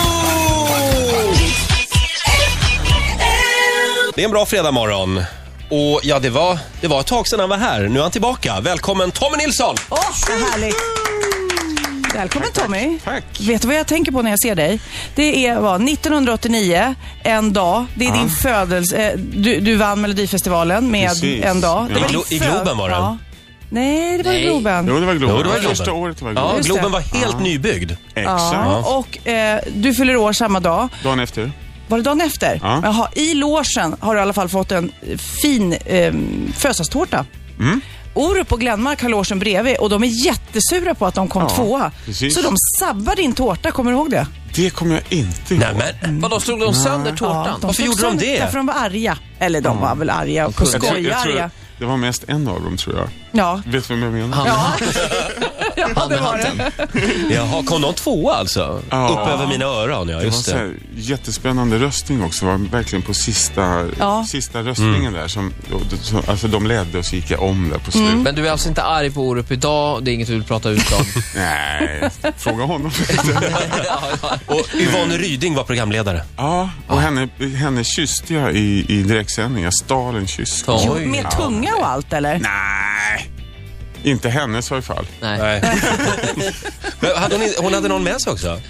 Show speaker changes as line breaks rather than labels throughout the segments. Riksmorgonzoo! Det är en bra fredagmorgon. Och ja, det var, det var ett tag sedan han var här. Nu är han tillbaka. Välkommen Tommy Nilsson!
Åh, vad härligt! Välkommen Tommy.
tack.
Vet du vad jag tänker på när jag ser dig? Det är vad, 1989, en dag. Det är din födelse. eh, Du, du vann Melodifestivalen med
Precis.
en dag. var
Ja. I
din
Glo-
i
föd-
Globen var den.
Ja. Nej, det var i Globen.
Jo, det var Globen.
Jo, det var
Första
Globen.
året var
Ja,
Globen.
Just
Globen
det.
var helt nybyggd.
Exakt.
Ja, och eh, du fyller år samma dag.
Dagen efter.
Var det dagen efter?
Ja.
Jaha, i logen har du i alla fall fått en fin eh, födelsedagstårta.
Mm.
Orup och Glenmark har logen bredvid och de är jättesura på att de kom
Ja,
tvåa.
precis.
Så de sabbar din tårta, kommer du ihåg det?
Det kommer jag inte ihåg.
Nej men, vadå, slog de sönder tårtan? Varför
slog
gjorde de
sönder
det?
Därför de var arga. Eller de var väl arga och på
Jag tror,
skoj
jag tror,
arga.
att det var mest en av dem, tror jag.
Ja.
Vet du vem jag menar?
Ja. ja, det var det.
Jaha, kom de tvåa alltså?
Ja.
Upp över mina öron, ja
Det var
just
så
det.
här, jättespännande röstning också. var verkligen på sista,
Ja.
sista röstningen där. Som, och det- så- alltså, de ledde och så gick jag om där på slutet.
Men du är alltså inte arg på Orup idag, det är inget du vill prata ut om.
Nej, fråga honom.
Och Yvonne Ryding var programledare.
ja, och henne, henne kysste jag i, i direktsändning. Jag stal en kyss.
Oj.
Jo, med tunga och allt eller?
Nej, inte hennes i alla fall.
Nej.
Nej. men hade hon, hon hade någon med sig också?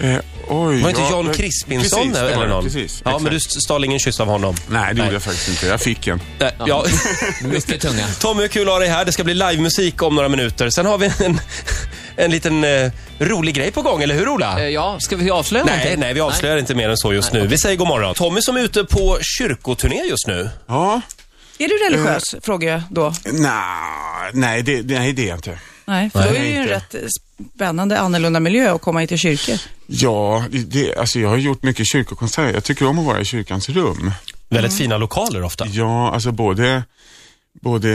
Eh, oj,
Var det inte
ja,
Jan
men-
Crispinson
precis, det var
eller
det,
någon?
Precis,
ja,
exakt.
men du stal ingen kyss av honom?
Nej, det gjorde jag faktiskt inte. Jag fick en.
Nej, ja.
Mycket tunga.
Tommy, kul att ha dig här. Det ska bli livemusik om några minuter. Sen har vi en, en liten eh, rolig grej på gång, eller hur Ola?
Eh, Ja, ska vi avslöja
Nej,
någonting?
nej, vi avslöjar inte mer än så just nu. Vi säger god morgon. Tommy som är ute på kyrkoturné just nu.
Ja,
Är du religiös?
Eh.
Frågar jag då.
nah, nej, det, nej, det är jag inte.
Nej, för då är det ju en
inte.
rätt spännande annorlunda miljö att komma hit till kyrkor.
Ja, det- det, alltså jag har gjort mycket kyrkokonserter. Jag tycker om att vara i kyrkans rum.
Väldigt fina lokaler ofta.
Ja, alltså både, både,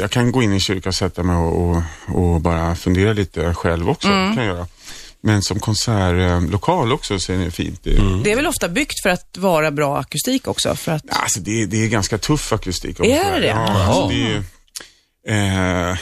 jag kan gå in i en kyrka och sätta mig och, och, och bara fundera lite själv också.
Mm.
Det kan jag göra. Men som konsertlokal också så är det fint. Det,
Mm.
Det är väl ofta byggt för att vara bra akustik också? För att...
Alltså det, det är ganska tuff akustik. om
Är
jag får
det?
säga. Ja,
Jaha.
alltså det är, eh,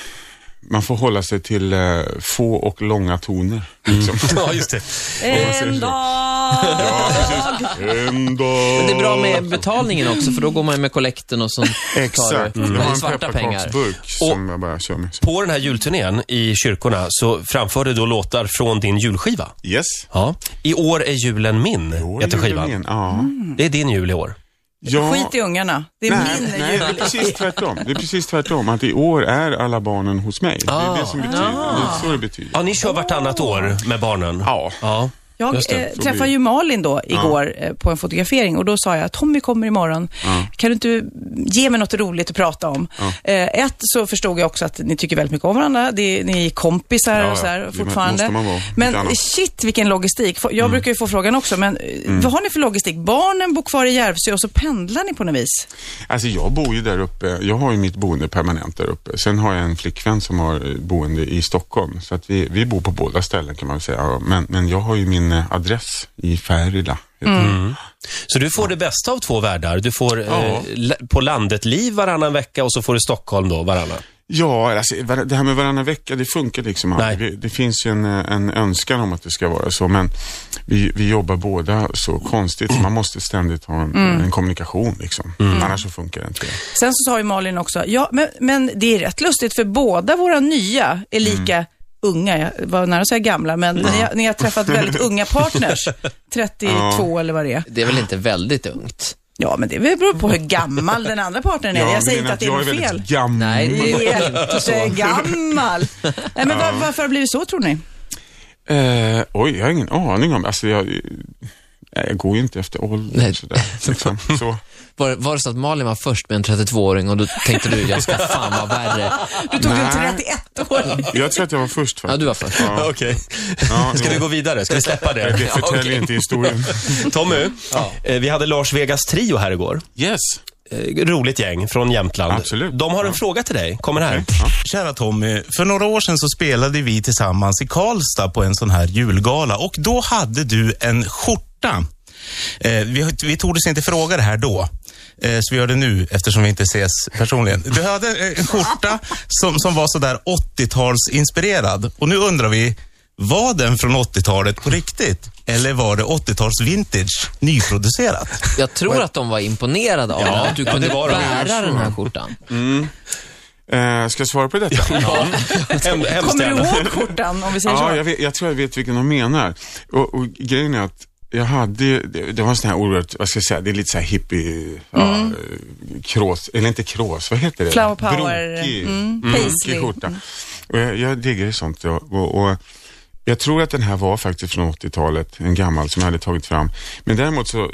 man får hålla sig till eh, få och långa toner. Liksom.
Ja, just det.
En dag!
Ja, precis. En dag.
Men det är bra med betalningen också, för då går man ju med kollekten och så tar
Exakt.
du Mm.
Mm.
Jag har en
svarta pengar.
pepparkaksburk som jag bara kör med.
På den här julturnén i kyrkorna så framför du då låtar från din julskiva.
Yes.
Ja. I år är julen min, heter skivan.
Julen, Ja.
Det är din jul i år.
Ja.
Skit i ungarna. Det är
Nej,
min
nej, det är precis tvärtom. Det är precis tvärtom. Att i år är alla barnen hos mig. Det är det som betyder. Det är så det betyder.
Ja, ni kör vartannat år med barnen.
Ja.
ja.
Jag
Just det,
eh,
så
träffade
blir-
ju Malin då igår eh, på en fotografering och då sa jag att Tommy kommer imorgon. Kan du inte ge mig något roligt att prata om? Eh, ett så förstod jag också att ni tycker väldigt mycket om varandra. Det, ni är kompisar
Ja, ja.
och så här
Det
fortfarande.
måste man vara.
Men
Lite annat. Mm.
shit vilken logistik. Få- Jag brukar ju få frågan också, men eh, vad har ni för logistik? Barnen bor kvar i Järvsö och så pendlar ni på något vis.
Alltså jag bor ju där uppe, jag har ju mitt boende permanent där uppe. Sen har jag en flickvän som har eh, boende i Stockholm. Så att vi, vi bor på båda ställen kan man väl säga. Ja, Men, men jag har ju min eh, adress i Färila. heter det.
Mm.
Så du får det bästa av två världar. Du får eh,
Ja.
la- på landet-liv varannan vecka och så får du Stockholm då varannan.
Ja, alltså, var- det här med varannan vecka, det funkar liksom aldrig.
Nej.
Det, det finns ju en, eh, en önskan om att det ska vara så, men vi, vi jobbar båda så konstigt, så man måste ständigt ha en,
Mm.
en kommunikation liksom. Annars så funkar det inte.
Sen så sa ju Malin också, ja, men, men det är rätt lustigt för båda våra nya är
Mm.
lika unga, jag var nära att säga gamla, men ni, har, ni har träffat väldigt unga partners, 32 eller vad det är.
Det är väl inte väldigt ungt?
Ja, men det beror på hur gammal den andra partnern är.
Ja,
jag
men
säger inte
menar
att det är
jag
något fel.
väldigt gammal.
Nej, det är inte så.
Jättegammal. Nej, men var, varför har det blivit så tror ni?
Eh, oj, jag har ingen aning om. Alltså, jag, nej, jag går ju inte efter ålder
Nej.
sådär. Liksom. Så.
Var, var det så att Malin var först med en 32-åring och då tänkte du, jag ska fan vara värre.
Du tog en
Nej.
31-åring.
Jag tror att jag var först
Ja,
faktiskt.
du var först.
Ja.
Okej.
Ja,
Ska
jo.
vi gå vidare? Ska vi släppa det?
Det förtäljer
okej.
inte historien.
Tommy, eh, vi hade Lars Vegas trio här igår.
Yes.
Eh, Roligt gäng från Jämtland.
Absolut.
De har en fråga till dig. Kommer här.
Kära Tommy, för några år sedan så spelade vi tillsammans i Karlstad på en sån här julgala och då hade du en skjorta. Eh, vi, vi tordes inte fråga det här då, eh, så vi gör det nu eftersom vi inte ses personligen. Du hade eh, en skjorta som, som var sådär 80-talsinspirerad och nu undrar vi, Var den från 80-talet på riktigt? Eller var det 80-tals vintage, nyproducerat?
Jag tror att de var imponerade av att du kunde
det var de. Mm.
bära den här skjortan.
Eh, ska jag svara på detta?
Hem, hemskt
Kommer du
gärna.
ihåg skjortan om vi säger
Ja,
så?
jag, vet, jag tror jag vet vilken de menar. Och, och grejen är att jag hade, det, det var en sån här oerhört, vad ska jag säga, det är lite så här hippie, ja, eh, krås, eller inte krås, vad heter
Mm.
det?
Flower power,
Brokig,
mm,
brokig
paisley.
skjorta. Och jag, jag diggar sånt och, och, och jag tror att den här var faktiskt från 80-talet, en gammal som jag hade tagit fram. Men däremot så, eh,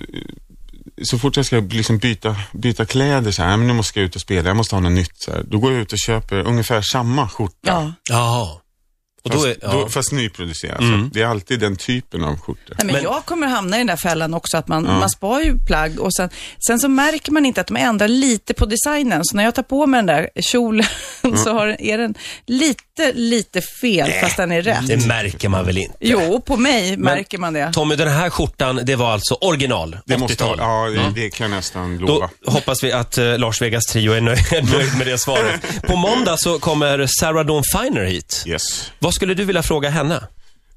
så fort jag ska liksom byta, byta kläder så här, "Nej, men nu måste jag ut och spela, jag måste ha något nytt. Så här. Då går jag ut och köper ungefär samma skjorta.
Ja.
Ja.
Och
Fast,
då är,
då,
ja. Mm.
fast nyproducerat. Så det är alltid den typen av skjorta.
Nej, men, jag kommer hamna i den där fällan också, att man, man spar ju plagg och sen, sen så märker man inte att de ändrar lite på designen. Så när jag tar på mig den där kjolen så har, är den lite, lite fel, fast den är rätt.
Det märker man väl inte?
Jo, på mig märker man det.
Tommy, den här skjortan, det var alltså original,
Det måste
80-tal.
Ja, det, det kan jag nästan
Då
lova.
hoppas vi att eh, Lars Vegas Trio är nöjd, är nöjd med det svaret. På måndag så kommer Sarah Dawn Finer hit.
Yes.
Vad skulle du vilja fråga henne?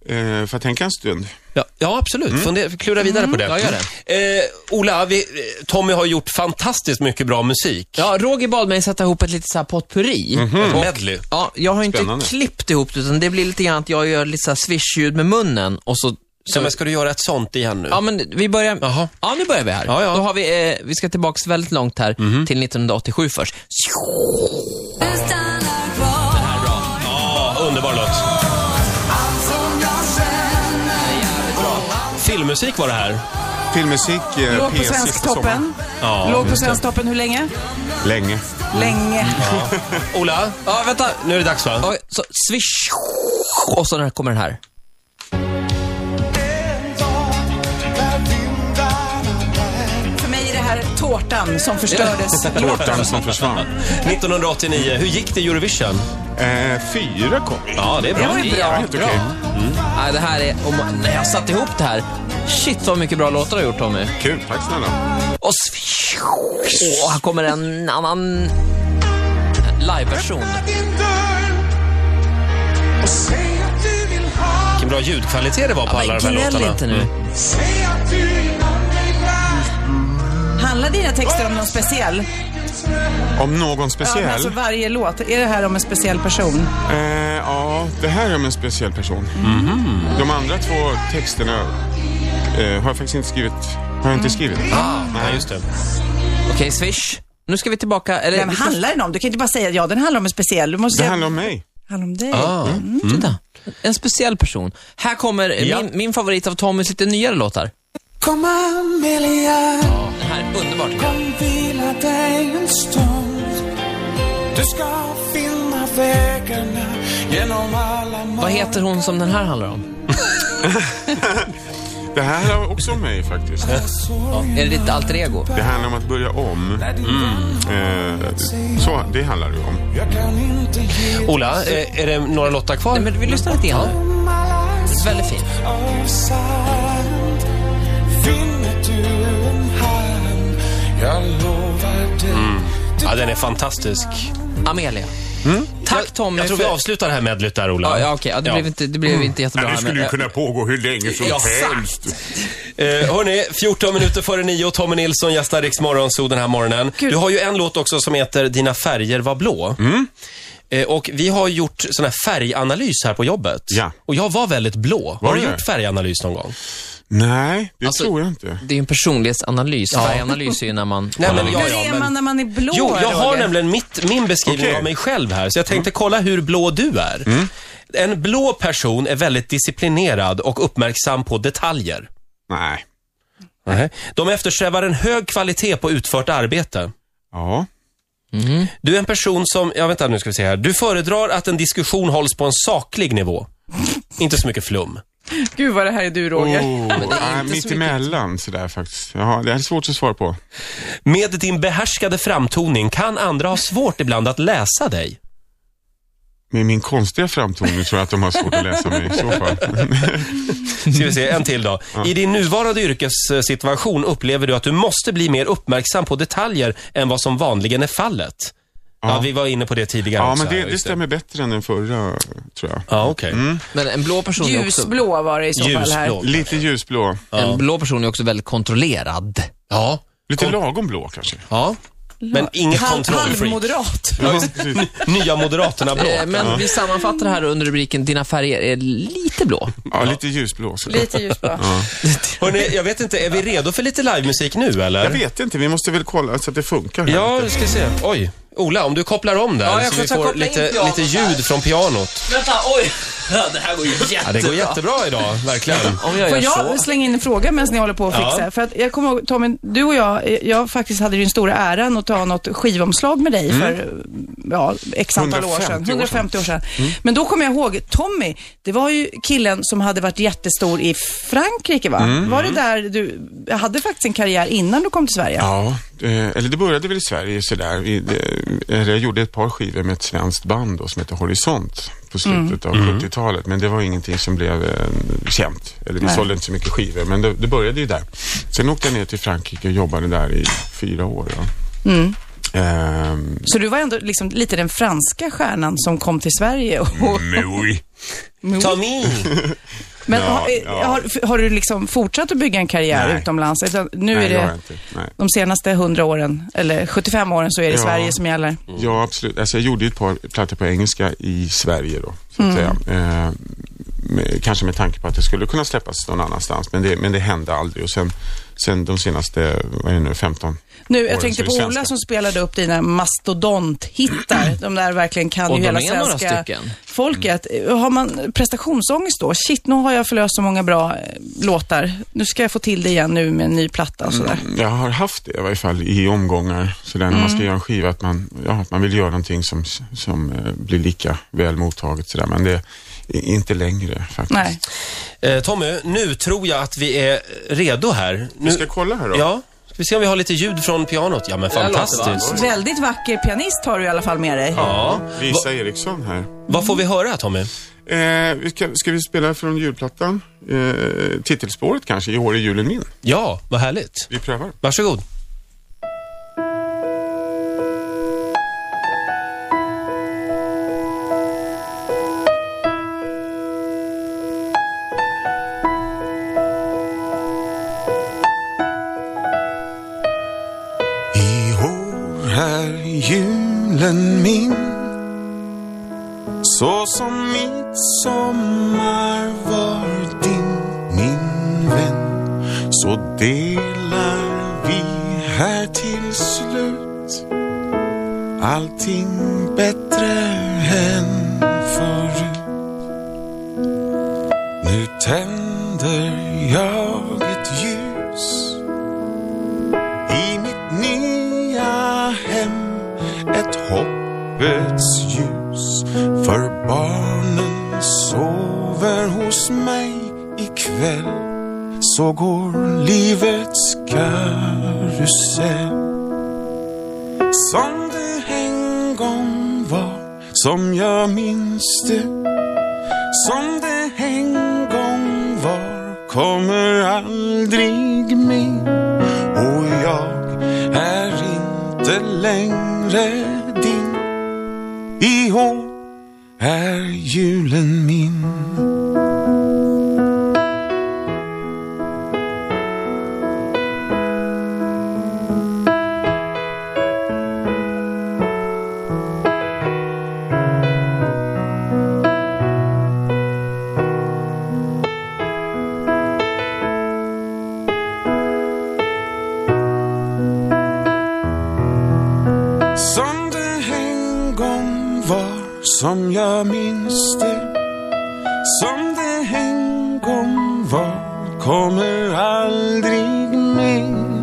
Mm.
Eh, får jag tänka en stund?
Ja, ja absolut. Fundera, klura vidare på det.
Ja, gör
Eh, Ola, vi, eh, Tommy har gjort fantastiskt mycket bra musik.
Ja, Roger bad mig sätta ihop ett litet så här potpurri.
Mhm. Mm.
Och-
Medley.
Ja, jag har inte
Spännande.
klippt ihop det, utan det blir lite grann att jag gör lite så här swish-ljud med munnen och så...
Så, men ska du göra ett sånt igen nu?
Ja, men vi börjar...
Jaha.
Ja, nu börjar vi här.
Ja, Mhm. ja.
Då har vi, eh, vi ska tillbaks väldigt långt här, till 1987 först.
stannar kvar
Ja, underbar låt.
Allt som jag känner
Filmmusik var det här.
Filmmusik, eh,
Låg på
PS sista sommaren.
Svensktoppen. Låg på Svensktoppen hur länge?
Länge.
Länge.
Ola,
Ja, vänta.
nu är det dags va?
Oj, så swish. Och så när kommer den här.
För mig är det här tårtan som förstördes.
Tårtan som försvann.
1989. Hur gick det i Eurovision?
Eh, fyra kom vi.
Ja, det är
Det
bra.
var ju bra.
Helt okej.
Mm. Nej, det här är... Om, när jag satte ihop det här. Shit, vad mycket bra låtar du har gjort, Tommy.
Kul, tack snälla.
Och swish. Och här kommer en annan liveversion.
Vilken bra ljudkvalitet det var på alla
Men
de här
gnäll
låtarna.
inte nu.
Handlar dina texter om någon speciell?
Om någon
Ja,
speciell?
men
Ja,
alltså varje låt. Är det här om en speciell person?
eh, ja det här är om en speciell person.
Mhm.
De andra två texterna eh, har jag faktiskt inte skrivit. Har jag
Mm.
inte skrivit?
Ja, just det.
Okej, swish. Nu ska vi tillbaka. Eller,
Nej, men
vi ska-
handlar den om? Du kan inte bara säga ja, den handlar om en speciell. Du måste
Det
säga,
handlar om mig.
handlar om dig.
Ja, titta. Mm. En speciell person. Här kommer eh,
Ja.
min, min favorit av Tommys lite nyare låtar.
Kom Amelia,
Det här är underbart. tycker jag.
kom vila dig en stund. Du ska finna vägarna genom alla
Vad heter hon som den här handlar om?
Det här handlar också om mig faktiskt.
Är det ditt alter ego?
Det handlar om att börja om. Mm. Eh, så, det handlar det ju om.
Jag kan inte ge
Ola, eh, är det några låtar kvar?
Nej, men vi lyssnar lite grann nu.
om alla
Väldigt fint.
av sand. Finner du en hand, jag lovar dig.
Ja, den är fantastisk.
Amelia. Tack Tommy
Jag tror vi
för...
avslutar det här medlet där, Ola.
Ja, ja, okej. Ja, det blev inte, det blev inte jättebra. här, men- eh,
pågå hur länge som
Ja,
helst.
Eh, hörni, 14 minuter före nio. Tommy Nilsson gästar Rix Morgonzoo den här morgonen.
Gud.
Du har ju en låt också som heter Dina färger var blå.
Mm.
Eh, och vi har gjort sån här färganalys här på jobbet.
Ja.
Och jag var väldigt blå.
Var
har du
du?
gjort färganalys någon gång?
Nej, det
Alltså-
tror jag inte.
Det är ju en personlighetsanalys. Färganalys är ju när man...
Nej, men jag-
Hur
ja,
är
men-
man när man är blå?
jo, jag har
Roger?
nämligen mitt, min beskrivning
Okej.
av mig själv här. Så jag tänkte kolla hur blå du är. En blå person är väldigt disciplinerad och uppmärksam på detaljer.
Nej.
Nej. De eftersträvar en hög kvalitet på utfört arbete.
Ja.
Du är en person som, ja vänta nu ska vi se här. Du föredrar att en diskussion hålls på en saklig nivå. Inte så mycket flum.
Gud vad det här är du
Mm,
Roger.
Oh, nej,
inte så
mitt emellan sådär faktiskt. Ja, det här är svårt att svara på.
Med din behärskade framtoning kan andra ha svårt ibland att läsa dig.
Med min konstiga framtoning tror jag att de har svårt att läsa mig i så fall.
Ska vi se, en till då. I din nuvarande yrkessituation upplever du att du måste bli mer uppmärksam på detaljer än vad som vanligen är fallet. Ja, vi var inne på det tidigare
Ja,
också
men det,
här,
det
just
stämmer Mm. bättre än den förra, tror jag.
Ja, okej.
Men en blå person är också...
Ljusblå var det i så fall här.
Ljusblå.
Lite ljusblå.
Ja.
En blå person är också väldigt kontrollerad.
Ja.
Lite lagom blå kanske.
ja. Men inget
Halv-
kontrollfreak.
Halvmoderat.
Ja, precis.
Nya Moderaterna-blå.
Eh, Men vi sammanfattar det här under rubriken Dina färger är lite blå.
ja, lite ljusblå. Så.
Lite ljusblå.
Hörrni, jag vet inte, är vi redo för lite livemusik nu eller?
Jag vet inte, vi måste väl kolla så att det funkar. här.
Ja, vi ska se. Oj, Ola, om du kopplar om där
Ja, jag
så
får
vi
ta-
får
koppla in
lite,
pianot
lite ljud från pianot.
Vänta, oj! Det här går ju jättebra.
Ja, det går jättebra idag, verkligen.
Om jag
Får
gör
jag
så.
slänga in en fråga medan ni håller på att fixa? För att jag kommer ihåg, Tommy, du och jag, eh, jag faktiskt hade ju den stora äran att ta något skivomslag med
Mm.
dig för eh, ja, x antal år
150 år
sedan.
sedan.
150 år sedan.
Mm.
Men då kommer jag ihåg, Tommy, det var ju killen som hade varit jättestor i Frankrike va?
Mm.
Var det där du hade faktiskt en karriär innan du kom till Sverige?
Ja, eh, eller det började väl i Sverige sådär. Vi, eh, eller jag gjorde ett par skivor med ett svenskt band då, som heter Horisont på slutet av 70-talet. Men det var ingenting som blev eh, känt. Eller vi sålde inte så mycket skivor, men det, det började ju där. Sen åkte jag ner till Frankrike och jobbade där i fyra år. Då. Ehm,
Så du var ändå liksom lite den franska stjärnan som kom till Sverige. Och,
Tommy!
men
Mm, Ja,
har, eh,
ja.
Har, har du liksom fortsatt att bygga en karriär
Nej.
utomlands? Utan nu
nej,
är
det
det...
har jag inte. Nej.
de senaste 100 åren, eller 75 åren, så är det
Ja.
Sverige som gäller.
Ja, absolut. Alltså, jag gjorde ju ett par plattor på engelska i Sverige då, så att säga. Eh, med, kanske med tanke på att det skulle kunna släppas någon annanstans, men det, men det hände aldrig. Och sen, sen de senaste, vad är det nu, 15?
Nu, jag
Åren
tänkte
så är
på
det
Ola
svenska.
som spelade upp dina mastodonthittar. De där verkligen kan
Och
ju
de
hela
är några
svenska
stycken.
folket. Har man prestationsångest då? Shit, nu har jag förlöst så många bra eh, låtar. Nu ska jag få till det igen nu med en ny platta och sådär.
Jag har haft det i varje fall i omgångar, så där när man ska göra en skiva, att man, ja, att man vill göra någonting som, som eh, blir lika väl mottaget. Så där. Men det är inte längre faktiskt.
Nej.
Eh, Tommy, nu tror jag att vi är redo här. Nu...
Vi ska kolla här då.
Ja, ska vi se om vi har lite ljud från pianot. Ja, men
Det här låter
fantastiskt.
Väldigt vacker pianist har du i alla fall med dig.
Ja.
Lisa Eriksson här.
Vad får vi höra, Tommy?
Eh, vi ska, ska vi spela från julplattan? Eh, titelspåret kanske, I år är julen min.
Ja, vad härligt.
Vi prövar.
Varsågod.
I år är julen min Så som mitt sommar var din, min vän Så delar vi här till slut Allting bättre än förut Nu tänder jag ett ljus i mitt nya hem ett hoppets ljus för barnen sover hos mig ikväll så går livets karusell som det en gång var som jag minns det som det en gång var kommer aldrig mer och jag är inte längre din. I år är julen min. Som det en gång var, som jag minns det. Som det en gång var, kommer aldrig mer.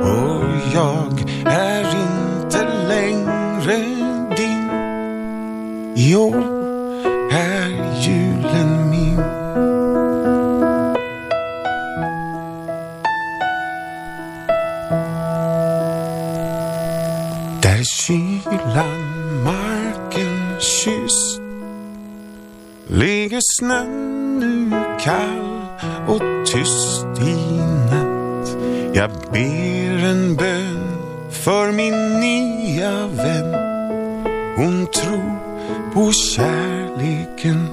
Och jag är inte längre din. I år är julen min. Där kylan marken kysst Ligger snön nu kall och tyst i natt Jag ber en bön för min nya vän. Hon tror på kärleken.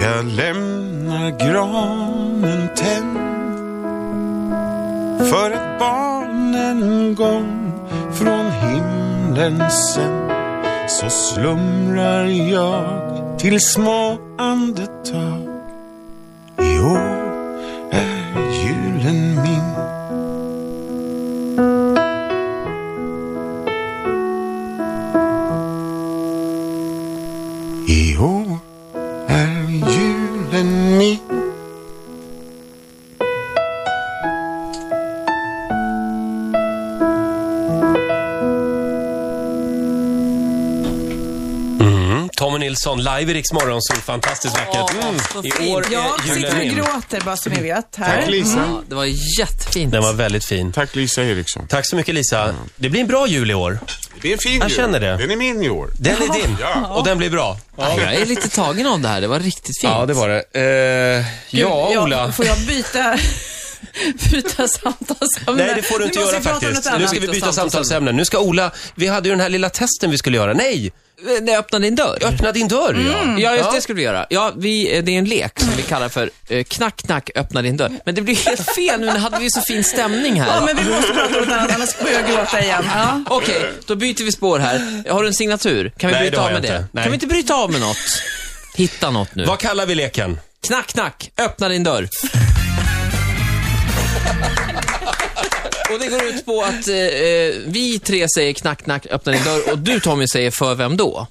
Jag lämnar granen tänd för ett barn en gång från himlen sen så slumrar jag till små andetag. I år är julen min. I år är julen min.
Mm. Tommy Nilsson, live i Rix Morgonzoo. Fantastiskt vackert. Mm.
Åh, så fint.
I år
Jag
är
sitter och
julen min.
gråter bara så ni vet. Här.
Tack Lisa.
Ja, det var jättefint.
Den var väldigt fin.
Tack Lisa Eriksson.
Tack så mycket Lisa. Det blir en bra jul i år.
Det är en fin
Jag
jul.
känner det.
Den är min i år.
Den är din. Och den blir bra.
Jag är lite tagen av det här. Det var riktigt fint.
Ja, det var det. Eh,
Gud,
ja, Ola.
får jag byta, byta samtalsämne?
Nej, det får du inte
Nu måste
göra
vi prata
faktiskt.
om något
Nu
annat.
ska vi byta
Samtalsämne.
samtalsämne. Nu ska Ola, vi hade ju den här lilla testen vi skulle göra. Nej!
Eh, När jag öppnade din dörr.
Öppna din dörr, Mm. ja.
Ja, just det skulle vi göra. Ja, vi, eh, det är en lek som vi kallar för eh, Knack, knack, öppna din dörr. Men det blir helt fel nu, nu hade vi så fin stämning här.
Ja, men vi måste prata om något annat, annars börjar jag gråta igen. Ja.
Okej, då byter vi spår här. Har du en signatur? Kan vi
Nej, det
bryta
har
av med
jag
det?
inte. Nej.
Kan vi inte bryta av med något? Hitta något nu.
Vad kallar vi leken?
Knack, knack, öppna din dörr. Och det går ut på att eh, eh, vi tre säger knack, knack, öppna din dörr och du Tommy säger för vem då?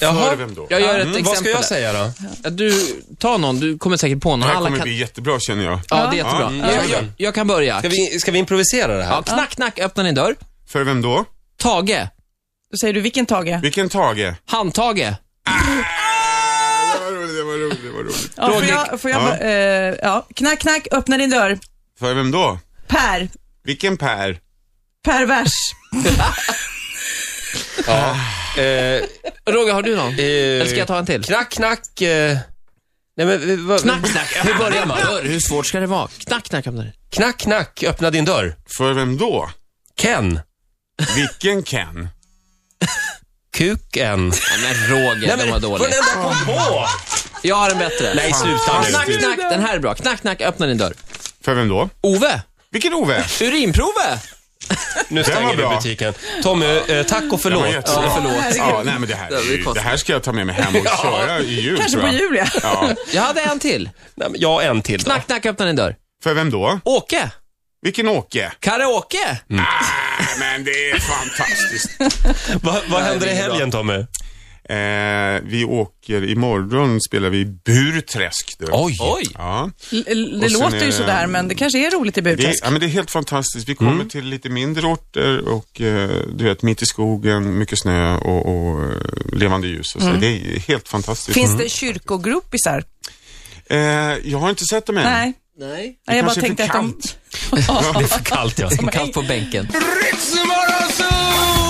Jaha.
För vem då?
Jag gör ett exempel.
Mm, Vad ska jag
där.
säga då?
Ja, Du, ta någon, du kommer säkert på någon.
Det här
Alla
kommer
kan...
bli jättebra känner jag.
Ja, det är jättebra.
Mm.
jag, jag, jag kan börja.
Ska vi, ska vi improvisera det här?
Ja, knack, knack, öppna din dörr.
För vem då?
Tage,
Då säger du, vilken Tage?
Vilken Tage?
handtage.
Det var roligt, det var roligt, det var roligt.
Ja, får
Roger.
jag, får jag bara, eh, ja. Knack, knack, öppna din dörr.
För vem då?
Per.
Vilken Per?
Pervers.
Eh,
Roger, har du någon? Eller ska
eh,
jag ta en till?
knack, knack. Eh, nej, men, eh, vad-
Knack, knack, hur börjar man? Hör, Hur svårt ska det vara? Knack, knack, öppna din dörr.
knack, knack, öppna din dörr.
För vem då?
Ken.
Vilken Ken?
Kuken.
Nej, men Roger, den var dålig.
enda kom på!
Jag har en bättre.
Nej, sluta nu.
Knack, knack, den här är bra. Knack, knack, öppna din dörr.
För vem då?
Ove,
Vilken Ove?
urinprove!
Nu
var
stänger du
bra.
butiken. Tommy, eh, tack och
Den
förlåt.
var jättebra.
Ja,
förlåt.
Ja, nej men det här,
Det blir konstigt.
det här ska jag ta med mig hem och köra i jul
Kanske
tror
på
jag.
Julia.
Ja.
Jag hade en till.
nej, men jag har en till då.
Knack, knack, öppna din dörr.
För vem då?
Åke,
Vilken Åke?
karaoke.
Nej, men det är fantastiskt.
Va, vad händer i
det är bra.
helgen, Tommy?
Eh, vi åker, imorgon spelar vi Burträsk. Du.
Oj!
Oj,
Ja.
L- l- Det
Och sen
låter
är
ju
det-
sådär, men det kanske är roligt i
Det är,
Burträsk.
ja, men det är helt fantastiskt. Vi kommer till lite mindre orter och eh, du vet, mitt i skogen, mycket snö och, och eh, levande ljus. Och så. Det är helt fantastiskt.
Mm. Finns det kyrkogruppisar?
Eh, jag har inte sett dem än.
Nej.
Nej.
Nej, jag bara
kanske är för
tänkte att de...
kallt.
Det är för kallt, ja.
Kallt på bänken.
Ritzmorgonzoo!